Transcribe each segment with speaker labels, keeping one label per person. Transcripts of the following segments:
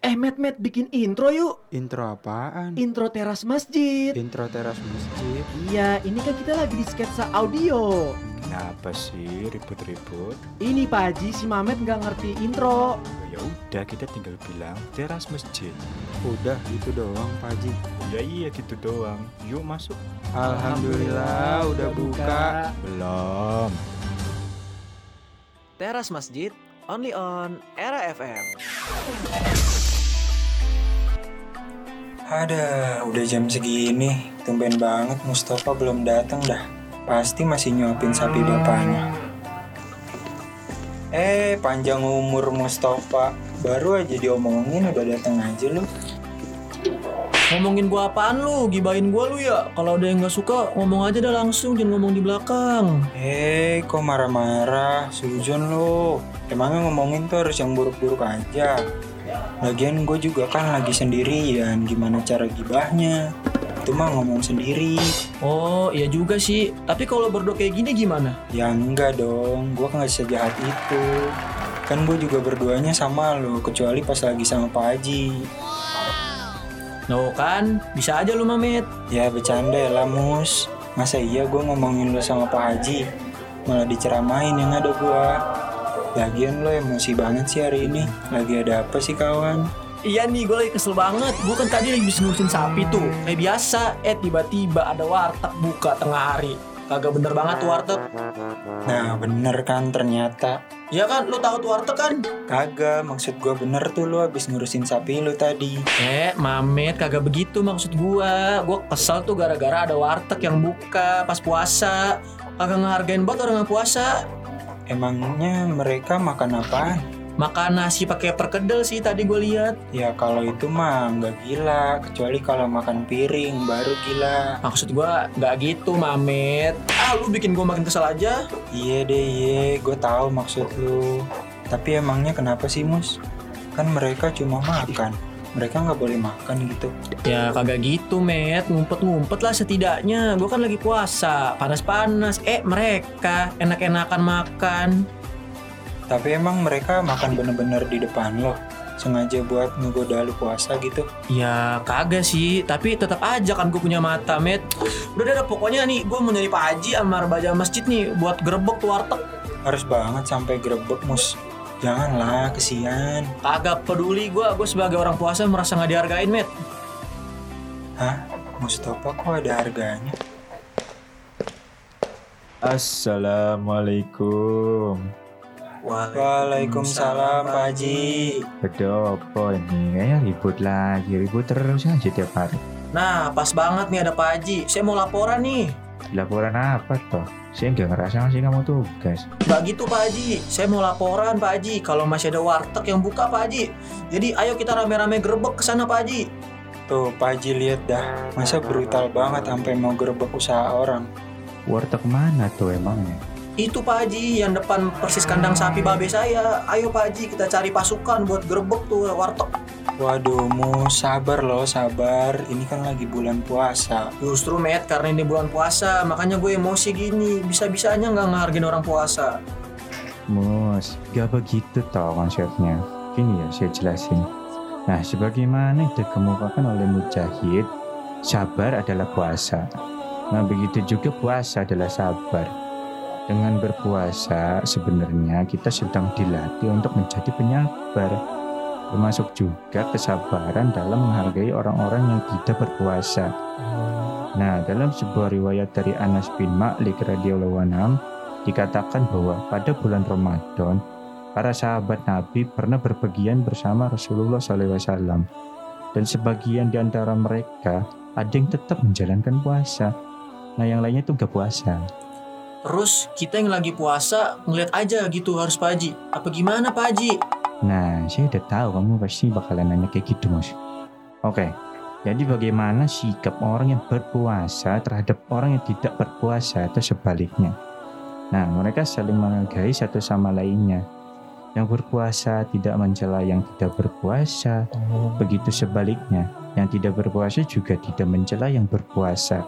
Speaker 1: Eh, Matt, Matt, bikin intro yuk.
Speaker 2: Intro apaan?
Speaker 1: Intro teras masjid.
Speaker 2: Intro teras masjid.
Speaker 1: Iya, ini kan kita lagi di sketsa audio.
Speaker 2: Kenapa sih ribut-ribut?
Speaker 1: Ini Pak Haji, si Mamet nggak ngerti intro.
Speaker 3: Ya udah kita tinggal bilang teras masjid.
Speaker 2: Udah gitu doang, Pak Haji.
Speaker 3: Ya iya gitu doang. Yuk masuk.
Speaker 2: Alhamdulillah udah buka.
Speaker 3: Belum.
Speaker 4: Teras Masjid, only on Era FM.
Speaker 5: Ada, udah jam segini. Tumben banget Mustafa belum datang dah. Pasti masih nyuapin
Speaker 2: Hmm.
Speaker 5: sapi bapaknya. Eh, panjang umur Mustafa. Baru aja diomongin udah datang aja lu.
Speaker 6: Ngomongin gua apaan lu? Gibain gua lu ya? Kalau ada yang nggak suka, ngomong aja dah langsung, jangan ngomong di belakang.
Speaker 5: Eh, kok marah-marah? Sujon lu. Emangnya ngomongin tuh harus yang buruk-buruk aja. Lagian gue juga kan lagi sendirian, gimana cara gibahnya? Itu mah ngomong sendiri.
Speaker 6: Oh, iya juga sih. Tapi kalau berdua kayak gini gimana?
Speaker 5: Ya enggak dong, kan gue nggak sejahat itu. Kan gue juga berduanya sama lo, kecuali pas lagi sama Pak Haji.
Speaker 6: No kan, bisa aja lu Mamet.
Speaker 5: Ya bercanda ya lah Mus. Masa iya gue ngomongin lo sama Pak Haji? Malah diceramain yang ada gue. Lagian lo emosi banget sih hari ini. Lagi ada apa sih kawan?
Speaker 6: Iya nih, gue lagi kesel banget. Gue kan tadi lagi bisa ngurusin sapi tuh. Kayak biasa, eh tiba-tiba ada warteg buka tengah hari. Kagak bener banget tuh warteg.
Speaker 5: Nah bener kan ternyata.
Speaker 6: Iya kan, lu tahu tuh warteg kan?
Speaker 5: Kagak, maksud gue bener tuh lo abis ngurusin sapi lo tadi.
Speaker 6: Eh, Mamet, kagak begitu maksud gua. Gua kesel tuh gara-gara ada warteg yang buka pas puasa. Kagak ngehargain banget orang yang puasa.
Speaker 5: Emangnya mereka makan apaan?
Speaker 6: Makan nasi pakai perkedel sih tadi gue lihat.
Speaker 5: Ya kalau itu mah nggak gila, kecuali kalau makan piring baru gila.
Speaker 6: Maksud gua nggak gitu, Mamet. Ah, lu bikin gue makin kesel aja.
Speaker 5: Iya deh, iya, gue tahu maksud lu. Tapi emangnya kenapa sih Mus? Kan mereka cuma makan, mereka nggak boleh makan gitu.
Speaker 6: Ya kagak gitu, Met. Ngumpet-ngumpet lah setidaknya. Gue kan lagi puasa, panas-panas. Eh, mereka enak-enakan makan.
Speaker 5: Tapi emang mereka makan bener-bener di depan lo, sengaja buat ngegoda lu puasa gitu.
Speaker 6: Ya kagak sih, tapi tetap aja kan gue punya mata, Met. Udah deh, dah, pokoknya nih gue mau nyari Pak Haji sama Raja Masjid nih buat gerbek tuh warteg.
Speaker 5: Harus banget sampai grebek Mus. Janganlah, kesian.
Speaker 6: Kagak peduli gue, gue sebagai orang puasa merasa nggak dihargain, Met.
Speaker 5: Hah? Mustafa kok ada harganya?
Speaker 2: Assalamualaikum.
Speaker 5: Waalaikumsalam, Pak Haji.
Speaker 2: Ada apa ini? Kayaknya ribut lagi, ribut terus aja tiap hari.
Speaker 6: Nah, pas banget nih ada Pak Haji. Saya mau laporan nih.
Speaker 2: Laporan apa toh? Saya nggak ngerasa ngasih kamu tugas.
Speaker 6: Nggak gitu Pak Haji, saya mau laporan Pak Haji. Kalau masih ada warteg yang buka Pak Haji. Jadi ayo kita rame-rame gerbek ke sana Pak Haji.
Speaker 5: Tuh, Pak Haji lihat dah. Masa brutal banget sampai mau grebek usaha orang.
Speaker 2: Warteg mana tuh emangnya?
Speaker 6: Itu Pak Haji yang depan persis kandang sapi babe saya. Ayo Pak Haji kita cari pasukan buat gerbek tuh warteg.
Speaker 5: Waduh, Mus, sabar loh, sabar. Ini kan lagi bulan puasa.
Speaker 6: Justru Met karena ini bulan puasa makanya gue emosi gini. Bisa-bisanya nggak ngehargain orang puasa.
Speaker 2: Mus, gak begitu toh gitu konsepnya. Gini ya, saya jelasin. Nah, sebagaimana yang dikemukakan oleh Mujahid, sabar adalah puasa. Nah, begitu juga puasa adalah sabar. Dengan berpuasa, sebenarnya kita sedang dilatih untuk menjadi penyabar. Termasuk juga kesabaran dalam menghargai orang-orang yang tidak berpuasa. Nah, dalam sebuah riwayat dari Anas bin Malik radhiyallahu anhu dikatakan bahwa pada bulan Ramadan para sahabat Nabi pernah berpergian bersama Rasulullah SAW. Dan sebagian di antara mereka ada yang tetap menjalankan puasa. Nah yang lainnya itu nggak puasa.
Speaker 6: Terus kita yang lagi puasa ngeliat aja gitu harus Pak Haji. Apa gimana Pak Haji?
Speaker 2: Nah saya udah tahu kamu pasti bakalan nanya kayak gitu mas. Oke, jadi bagaimana sikap orang yang berpuasa terhadap orang yang tidak berpuasa atau sebaliknya? Nah mereka saling menghargai satu sama lainnya. Yang berpuasa tidak mencela yang tidak berpuasa, begitu sebaliknya. Yang tidak berpuasa juga tidak mencela yang berpuasa.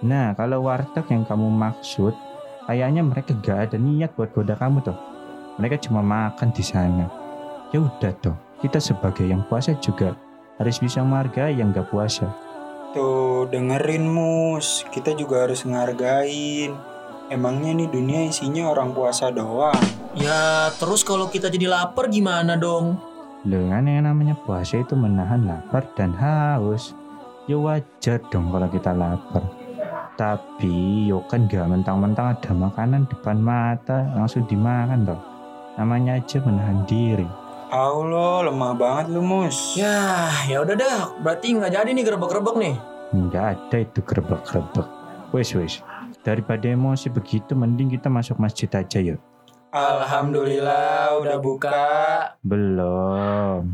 Speaker 2: Nah, kalau warteg yang kamu maksud, kayaknya mereka gak ada niat buat goda kamu toh. Mereka cuma makan di sana. Ya udah toh, kita sebagai yang puasa juga harus bisa menghargai yang gak puasa.
Speaker 5: Tuh, dengerin Mus, kita juga harus ngehargain. Emangnya nih dunia isinya orang puasa doang.
Speaker 6: Ya terus kalau kita jadi lapar gimana dong?
Speaker 2: Dengan yang namanya puasa itu menahan lapar dan haus. Ya wajar dong kalau kita lapar. Tapi yo kan gak mentang-mentang ada makanan depan mata langsung dimakan toh. Namanya aja menahan diri.
Speaker 5: Allah, lemah banget lu Mus.
Speaker 6: Ya, ya udah dah. Berarti nggak jadi nih gerebek-gerebek nih.
Speaker 2: Nggak ada itu gerebek-gerebek. Wes wes. Daripada emosi begitu mending kita masuk masjid aja yuk.
Speaker 5: Alhamdulillah udah buka.
Speaker 2: Belum.